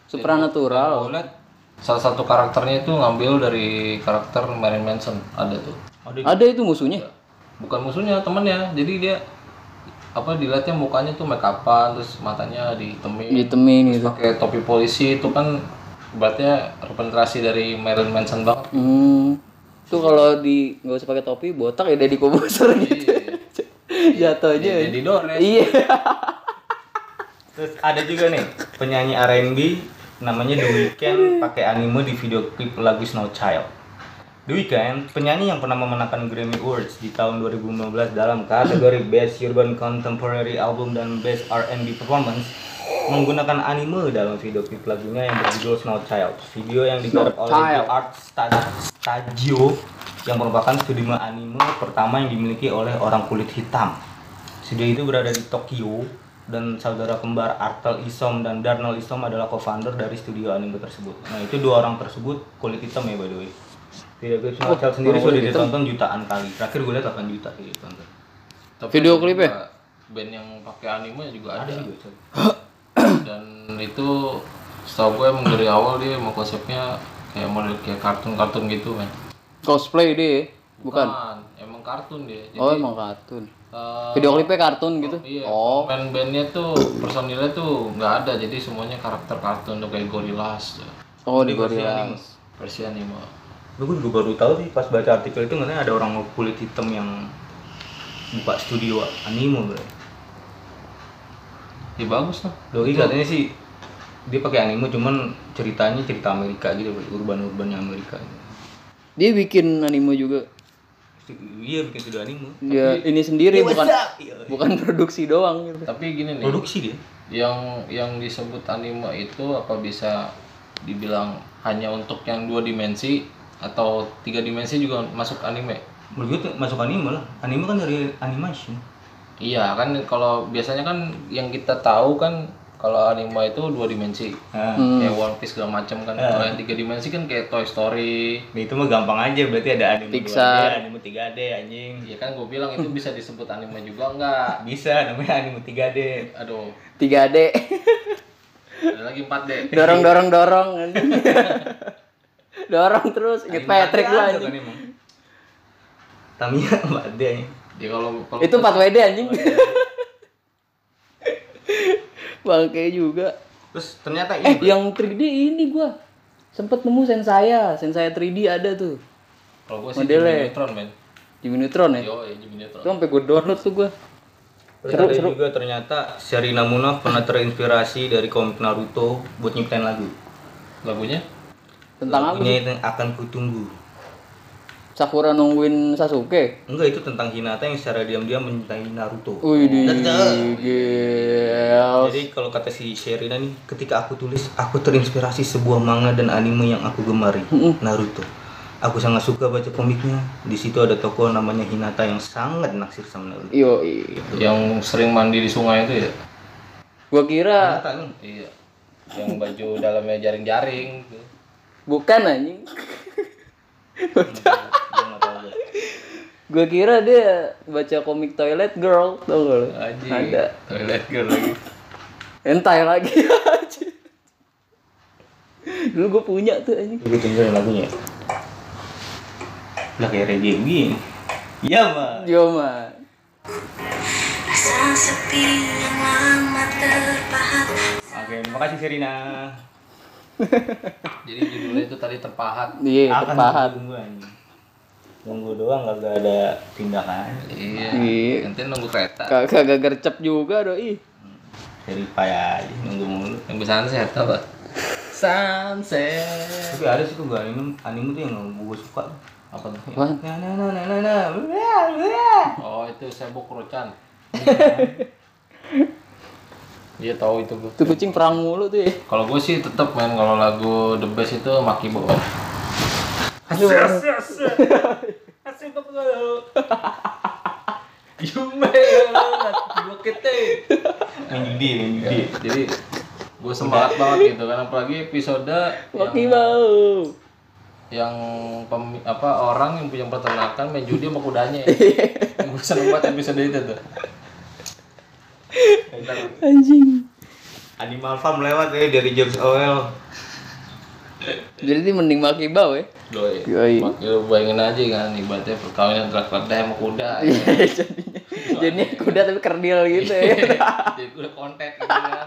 Supranatural.
Kalau lihat salah satu karakternya itu ngambil dari karakter Marilyn Manson ada tuh.
Ada
Ada itu musuhnya.
Bukan musuhnya temennya, jadi dia apa dilihatnya mukanya tuh make upan terus matanya dihitemin
Ditemin gitu.
pakai topi polisi itu kan ibaratnya representasi dari Marilyn Manson banget
Hmm. Tuh kalau di nggak usah pakai topi, botak ya Deddy Kobuser gitu. [laughs] Jatuhnya.
jadi ya. Dores
Iya.
Terus ada juga nih penyanyi R&B namanya The Weeknd pakai anime di video klip lagu Snow Child. The Weeknd, penyanyi yang pernah memenangkan Grammy Awards di tahun 2015 dalam kategori Best Urban Contemporary Album dan Best R&B Performance, menggunakan anime dalam video klip lagunya yang berjudul Snow Child. Video yang digarap oleh The
Child.
Art Sta- Studio yang merupakan studio anime pertama yang dimiliki oleh orang kulit hitam. Studio itu berada di Tokyo dan saudara kembar Artel Isom dan Darnell Isom adalah co-founder dari studio anime tersebut. Nah itu dua orang tersebut kulit hitam ya by the way. Video klip Snow Child sendiri
orang
sudah
kulit
ditonton jutaan kali. Terakhir gue lihat 8 juta sih ditonton.
Tapi
Video
ada
klipnya?
juga band yang pakai anime juga ada, [clears throat]
Ada juga. coy.
dan itu setahu gue emang dari awal dia mau konsepnya kayak model kayak kartun-kartun gitu kan
Cosplay deh. Bukan.
emang kartun dia jadi
Oh, emang kartun.
eh,
Video klipnya kartun gitu.
iya
Oh.
band-bandnya tuh personilnya tuh nggak ada jadi semuanya karakter kartun tuh kayak Gorillaz ya. tuh.
Oh, di
versi
Gorilla.
anime.
versi anime
Lu gue juga baru tahu sih pas baca artikel itu katanya ada orang kulit hitam yang buka studio anime bro.
ya bagus lah
Doi katanya sih dia pakai anime cuman ceritanya cerita Amerika gitu bro, urban-urbannya Amerika.
Dia bikin anime juga.
Iya bikin studio anime.
Dia ini sendiri bukan
Iya.
bukan produksi doang gitu.
tapi gini nih
Produksi dia.
yang yang disebut anime itu apa bisa dibilang hanya untuk yang dua dimensi atau tiga dimensi juga masuk anime
Menurut gue tuh masuk anime lah. Anime kan dari animation.
iya kan kalau biasanya kan yang kita tahu kan kalau anime itu dua dimensi
Nah,
kayak One Piece segala macam kan kalau yang tiga dimensi kan kayak Toy Story
itu mah gampang aja berarti ada anime
Pixar.
2D, anime 3D anjing.
ya kan gue bilang itu bisa disebut anime juga enggak
Bisa namanya anime 3D.
aduh
3D.
ada lagi 4D
[laughs] dorong dorong dorong anjing. dorong terus inget Patrick lu
aja
anjing.
kan emang. Tamiya 4D anjing.
ya kalau kalau
Itu 4WD anjing. [laughs] Bangke juga.
Terus ternyata
Eh,
ini
yang 3D ini gua sempet nemu sensaya, sensaya 3D ada tuh.
kalau gue sih
Modelnya.
Jimmy Neutron men
Jimmy Neutron ya.
yo ya Jimmy Neutron
Itu sampai gua download tuh gua.
Terus ada juga ternyata Sherina Munaf pernah terinspirasi dari komik Naruto buat nyiptain lagu.
lagunya
Tentang apa?
Lagunya itu yang akan kutunggu.
Sakura nungguin Sasuke.
Enggak itu tentang Hinata yang secara diam-diam mencintai Naruto.
Wih, di
Betul.
gel.
Jadi kalau kata si Sherina nih, ketika aku tulis, aku terinspirasi sebuah manga dan anime yang aku gemari, Naruto. Aku sangat suka baca komiknya. Di situ ada tokoh namanya Hinata yang sangat naksir sama Naruto.
Yo,
yang sering mandi di sungai itu ya
gua kira
Hinata kan? nih,
iya yang baju dalamnya jaring-jaring gitu.
bukan anjing.
gua nggak tahu deh.
Gua kira dia baca komik Toilet Girl, tau gak lu?
Aji,
Ada.
toilet girl lagi
Entai lagi [laughs] anjing. Dulu gua punya tuh anjing.
Gue tunjukin lagunya. Lah kayak reggae gini. Iya mah.
Yo, man.
Perasaan sepi yang
Oke, makasih Serina.
Jadi judulnya itu tadi terpahat.
Iya,
Akan
terpahat.
Nunggu anjing. Nunggu doang kagak ada tindakan.
Iya.
Iya. Nanti nunggu kereta.
Kag- Kagak gercep juga doi.
Jadi payah aja nunggu mulu.
Yang pesan sehat apa? Sunset.
Tapi ada sih tuh gak anime, anime tuh yang gue suka.
Apa tuh?
Wah,
Nah, nah, nah, nah, nah, nah, Wah, wah.
Oh itu sebok rocan. Dia tahu itu gue.
tuh kucing perang mulu tuh ya.
Kalau gue sih tetap main kalau lagu The Best itu Maki Bo.
Asik kok lo. Yume, gue kete. Main judi, main judi.
Jadi gue semangat banget gitu kan apalagi episode
Maki
yang,
bau.
yang pemi- apa orang yang punya peternakan main judi sama kudanya. gue seneng banget episode itu tuh.
Anjing.
Animal Farm lewat ya dari George Orwell.
Jadi mending maki bau ya.
Doi.
Yoi.
Maki lu bayangin aja kan ibaratnya perkawinan antara keledai sama
[laughs]
kuda. ya.
Iya. jadinya jadinya kuda tapi kerdil gitu ya.
[laughs]
Jadi gue kontak gitu kan.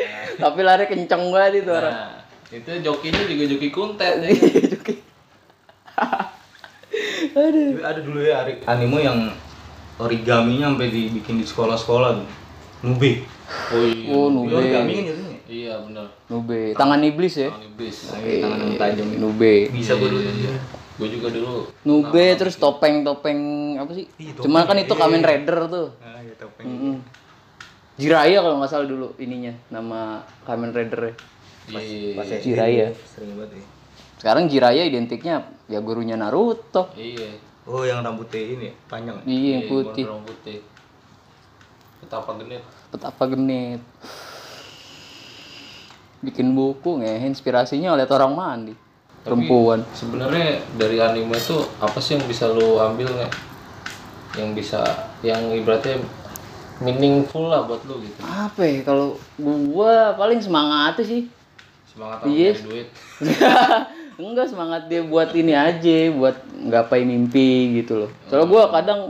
Nah,
tapi lari kenceng banget itu orang.
Nah, itu jokinya juga joki kuntet. ya.
Joki. Aduh.
Tapi ada dulu ya Ari- anime yang origaminya sampai dibikin di sekolah-sekolah tuh. Nube.
Oh iya.
Oh,
Tapi
nube.
Origami kan jadinya.
Iya benar.
Nube, tangan iblis ya.
Tangan iblis.
Pakai Nah, tangan yang tajam itu.
Nube.
Bisa gue dulu.
Gue juga dulu.
Nube terus topeng-topeng apa sih?
Iya, topeng.
Cuma kan itu Kamen Rider tuh.
Ah, ya topeng.
Mm-mm. Jiraya kalau nggak salah dulu ininya nama Kamen Rider.
Iya.
SD
Jiraiya.
Sering banget ya.
Sekarang Jiraya identiknya ya gurunya Naruto.
Iya.
Oh, yang rambutnya ini ya, panjang. ya?
Iya, yang putih.
Gondrong putih. Betapa genit.
Betapa genit. Bikin buku nggak ya? inspirasinya oleh orang mandi. Perempuan.
Sebenarnya dari anime itu apa sih yang bisa lu ambil nggak? Yang bisa yang ibaratnya meaningful lah buat lu gitu.
Apa ya kalau gua paling semangatnya sih. [laughs]
Semangat sama
Iya.
nyari duit.
Enggak semangat dia buat ini aja, buat nggapai mimpi gitu loh. Soalnya gua kadang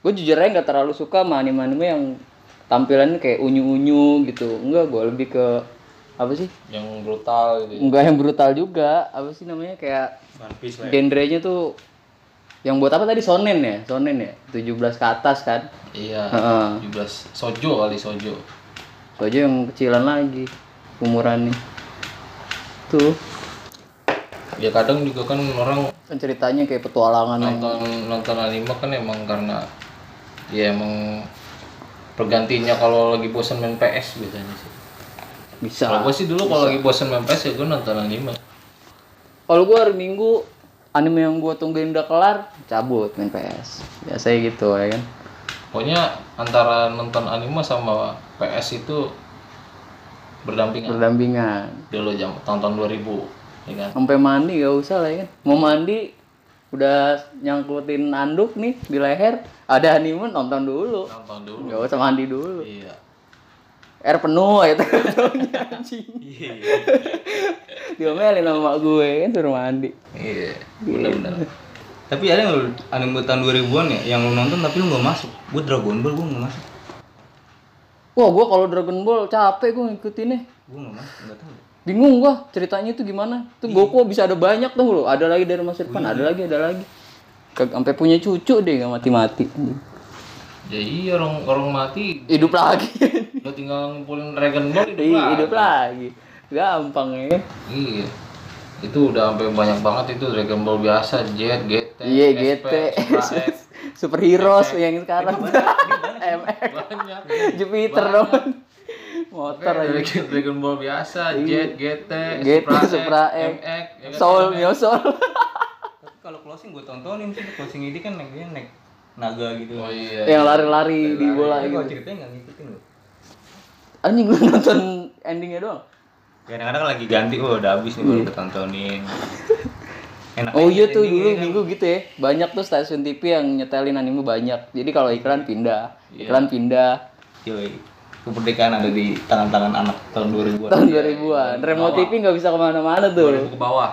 gue jujur aja nggak terlalu suka sama anime-anime yang tampilannya kayak unyu-unyu gitu. Enggak, gua lebih ke apa sih?
Yang brutal gitu.
Enggak yang brutal juga. Apa sih namanya kayak
One Piece lah. ya.
genrenya tuh yang buat apa tadi sonen ya? Sonen ya? 17 ke atas kan.
Iya.
Heeh.
17 sojo kali sojo.
Soalnya yang kecilan lagi umurannya. Tuh,
Ya kadang juga kan orang
kan ceritanya kayak petualangan yang
nonton nonton anime kan emang karena ya emang pergantinya kalau lagi bosan main PS biasanya sih.
Nah,
bisa.
Kalau gue sih dulu kalau lagi bosan main PS ya gue nonton anime.
Kalau gue hari Minggu anime yang gue tungguin udah kelar, cabut main PS. Biasanya gitu ya kan.
Pokoknya antara nonton anime sama PS itu
Iya.
berdampingan.
Berdampingan.
Dulu jam tahun-tahun 2000 ya kan.
Sampai mandi gak usah lah ya kan. Mau mandi udah nyangkutin anduk nih di leher, ada anime nonton dulu.
Nonton dulu.
Gak usah mandi dulu.
Iya.
Air penuh
[laughs]
ya tergantung anjing.
Iya.
Diomelin sama mak gue kan suruh mandi.
Iya, benar-benar.
Tapi ada nggak lu anime tahun 2000-an ya yang lu nonton tapi lu nggak masuk? Gue Dragon Ball gue nggak masuk.
Wah, gue kalau Dragon Ball capek gue ngikutinnya.
Gue nggak masuk, nggak tahu.
bingung gua ceritanya itu gimana
Iya.
tuh Goku bisa ada banyak tuh loh ada lagi dari masa depan ada lagi ada lagi Kag- sampai punya cucu deh nggak mati mati
Iya. Ya iya orang orang mati
hidup lagi
lo tinggal ngumpulin Dragon Ball hidup
Iya,
lagi.
hidup lagi gampang ya
Iya. Itu udah sampai banyak banget itu Dragon Ball biasa, Jet, GT,
iya
SP,
GT [laughs]
[laughs] Supra X,
superhero yang sekarang
ya.
MX
banyak.
Jupiter dong motor aja
Kayak Dragon, Dragon Ball biasa, Jet, GT,
GT Iya. Supra
Supra X,
X
MX, ya kan?
Soul Mio Soul
Iya,
Tapi kalau closing gue tontonin sih closing ini kan naik naik naga gitu.
Oh iya.
yang lari-lari di bola
Tapi kalau
gitu
ceritanya nggak ngikutin lu.
anjing lu nonton endingnya doang
Kadang-kadang lagi ganti, oh udah habis nih
Iya.
baru ketontonin.
Nah,
Enak.
Oh iya tuh dulu
kan.
minggu gitu ya. Banyak tuh stasiun TV yang nyetelin anime banyak. Jadi kalau iklan pindah,
Iya.
iklan pindah
Yoi. Kemerdekaan ada di tangan-tangan anak tahun 2000-an.
Iya,
tahun 2000-an. Remote TV nggak bisa kemana-mana tuh. [clears throat]
2000 ke bawah.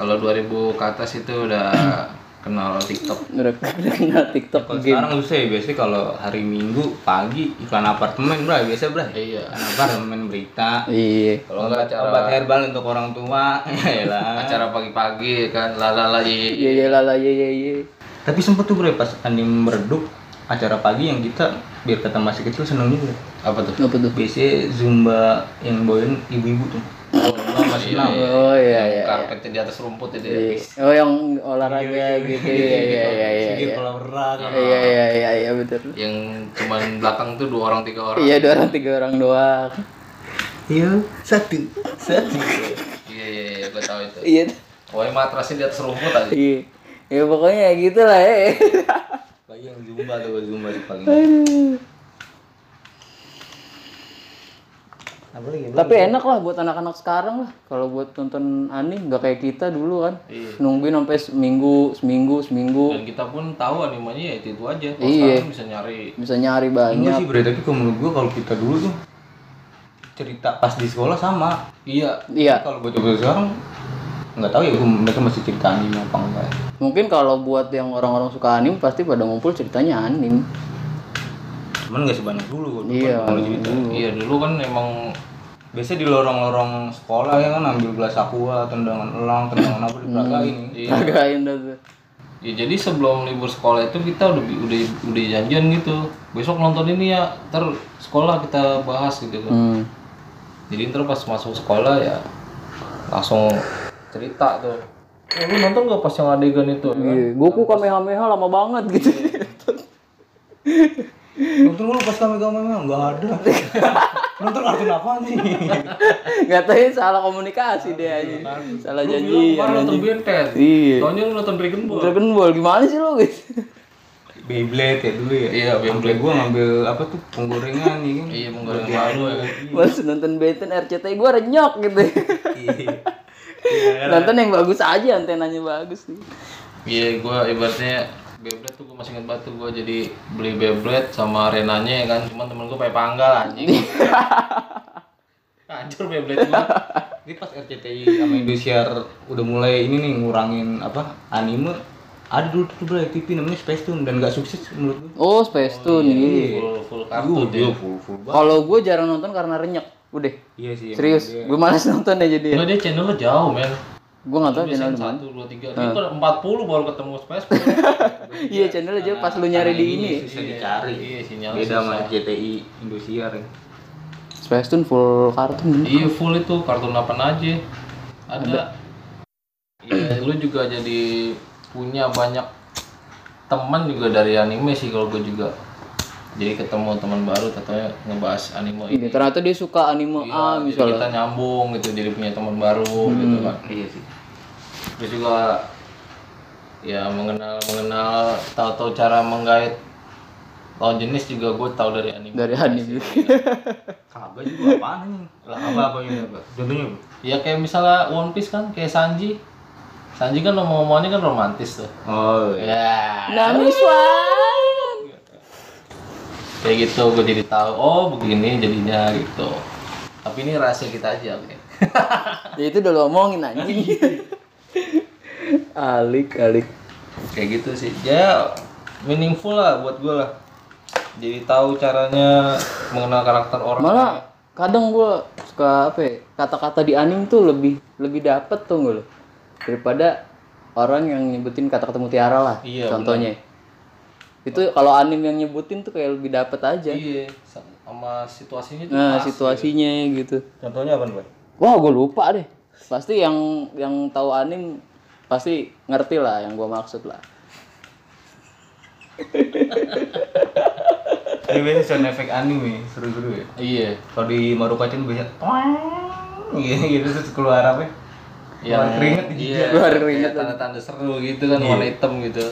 Kalau 2000 ke atas itu udah
kenal TikTok.
udah udah kenal TikTok
Kalau
game
sekarang usah ya, biasanya kalau hari Minggu pagi iklan apartemen, bro, biasa, bro.
Iya.
Iklan apartemen berita.
iya
Kalau
Kalau
nggak
nggak
acara
acara-
obat herbal untuk orang tua, [laughs] ya
ya.
yaelah.
Acara pagi-pagi kan lalala iya.
iya iya lah lah iya iya iya
Tapi sempet tuh bro pas anime meredup acara pagi yang kita biar kata masih kecil seneng juga.
Apa tuh?
apa tuh
Biasanya zumba yang bawain ibu-ibu tuh.
Oh, masih
Senam.
oh iya iya
Karpetnya di atas rumput itu ya.
Iya. oh yang olahraga gitu iya iya iya iya
Sedikit
iya
kolam renang.
iya iya iya iya betul
Yang cuman belakang tuh dua orang tiga orang.
iya dua orang tiga orang doang [laughs]
Iya satu satu.
Iya iya iya gue tahu itu.
iya
Pokoknya matrasnya Oh, di atas rumput aja.
iya ya pokoknya ya gitu lah [laughs] ya
Pagi yang zumba tuh zumba di pagi. Apa lagi? Bro?
tapi enak lah buat anak-anak sekarang lah kalau buat nonton anime nggak kayak kita dulu kan nungguin sampai seminggu seminggu seminggu
Dan kita pun tahu animenya ya itu, itu aja. Kalau
Iya.
sekarang bisa nyari
bisa nyari banyak
Enggak sih bro, tapi kalau menurut gua kalau kita dulu tuh cerita pas di sekolah sama.
Iya,
iya
Kalau bocah-bocah sekarang nggak tahu ya gua, mereka masih cerita anime apa enggak.
mungkin kalau buat yang orang-orang suka anime pasti pada ngumpul ceritanya anime
Cuman nggak sebanyak dulu. Dulu kan
iya
kalau cerita.
iya dulu kan emang
Biasanya di lorong-lorong sekolah ya kan ambil gelas aqua, tendangan elang, tendangan apa diperagain.
Iya. hargain dah tuh
ya jadi sebelum libur sekolah itu kita udah udah udah janjian gitu. Besok nonton ini ya, ter sekolah kita bahas gitu kan.
hmm.
Jadi ntar pas masuk sekolah ya langsung cerita tuh. Eh, lu nonton gak pas yang adegan itu? ya kan?
Iya, Goku kamehameha lama banget gitu
Nonton lu pas kami kami nggak [laughs] ada. Nonton kartun apa sih?
ngatain salah komunikasi deh aja salah
Lu bilang
janji
kemarin nonton Benten.
Iya.
Taunya lu nonton Dragon Ball.
Dragon Ball gimana sih lo gitu
Beyblade ya dulu ya.
Iya,
Sampai gua ngambil apa tuh penggorengan ya kan.
Iya, menggoreng malu ya. kan.
Mas nonton Benten RCTI gue renyok gitu
Iya.
nonton yang bagus aja antenanya bagus nih
Iya, gua ibaratnya Beyblade tuh gua masih ingat banget tuh gua jadi beli Beyblade sama arenanya ya kan. Cuman temen gua pakai panggal anjing. Hancur Beyblade gua.
Ini pas RCTI sama Indosiar udah mulai ini nih ngurangin apa anime ada dulu tuh bro TV namanya Space Tune dan nggak sukses menurut gua.
oh Space Tune iya.
Full full
Iya,
kartu
dia
deh.
full full banget.
kalau gue jarang nonton karena renyek udah
Iya sih. emang
serius
dia-
gue malas nonton ya jadi
Enggak dia channelnya jauh, men.
gue nggak tahu channel
Biasanya
mana
satu, dua, tiga, itu ada empat puluh baru ketemu space.
iya channel aja pas
Nah,
lu nyari di ini ya?
susah dicari.
Iya, sinyalnya
Beda sama
susah.
RCTI Indosiar. ya.
Space Tune full kartun
Iya full itu kartun apa aja ada. Iya lu juga jadi punya banyak teman juga dari anime sih kalau gue juga. Jadi ketemu teman baru katanya ngebahas anime
ini
ini.
ternyata dia suka anime A
Iya, jadi
Ah, misalnya Hmm.
kita nyambung gitu jadi punya teman baru gitu kan.
Iya sih.
Terus juga ya mengenal mengenal tahu-tahu cara menggait lawan jenis juga gue tahu dari anime.
dari anime
Kagak juga apaan nih? Lah apa apa ini apa? Contohnya apa?
Ya kayak misalnya One Piece kan, kayak Sanji. Sanji kan ngomong-ngomongannya kan romantis tuh.
Oh iya.
Ya,
Nah. Namiswan
kayak gitu gue jadi tahu. Oh begini jadinya gitu. Tapi ini rahasia kita aja, oke.
[laughs] ya itu udah lo omongin anjing [laughs] alik alik
kayak gitu sih. Ya meaningful lah buat gue lah. Jadi tahu caranya mengenal karakter orang.
malah kadang gua suka apa ya, kata-kata di anime tuh lebih lebih dapet tuh gue daripada orang yang nyebutin kata-kata mutiara lah
Iya,
contohnya itu kalau anime yang nyebutin tuh kayak lebih dapet aja
Iya, sama situasinya tuh
nah
pas.
situasinya gitu
Contohnya apa nih?
wah gue lupa deh pasti yang yang tahu anime pasti ngerti lah yang gua maksud lah
Ini biasanya sound effect anime seru-seru ya.
Iya.
Kalau di Marukacan biasanya toeng gitu, gitu terus keluar apa? Ya, keluar keringet di
iya,
Keluar
kayak
keringet.
tanda-tanda seru gitu
Iya.
kan warna hitam gitu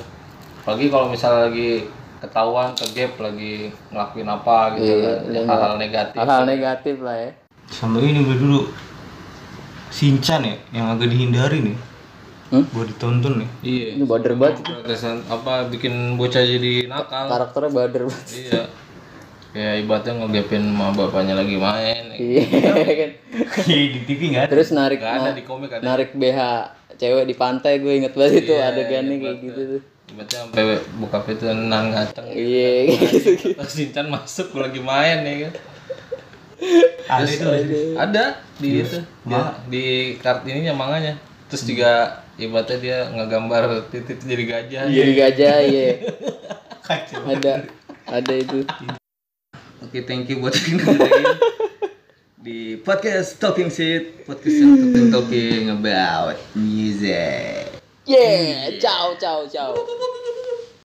apalagi kalau misalnya lagi ketahuan ke gap lagi ngelakuin apa gitu
Iya,
kan
iya.
hal-hal negatif
hal-hal negatif lah ya
Sama ini gue dulu Sinchan ya yang agak dihindari nih.
Hmm?
Buat ditonton ya. nih.
iya
ini bader banget sih.
Kesan- apa bikin bocah jadi nakal
karakternya bader banget
iya ya ibaratnya ngegapin sama bapaknya lagi main
Iya, kan.
di TV enggak ada.
terus narik
Nggak ada di komik ada
narik BH cewek di pantai gue inget banget itu
Iya,
adegannya
inget
kayak
banget
gitu
tuh.
tuh.
Tiba-tiba sampai buka pintu nan ngaceng.
[laughs] Iya, gitu.
Pas Sinchan masuk gua lagi main ya kan.
Ada itu Iya, ada.
Ada di itu. Dia- di kart ininya manganya. Terus juga
Hmm.
ibaratnya dia ngegambar titik jadi gajah.
Jadi gajah iya.
Kacau.
Ada ada itu.
Oke, thank you buat yang dengerin di podcast Talking Shit, podcast yang talking, talking about music.
Yeah, ciao ciao ciao.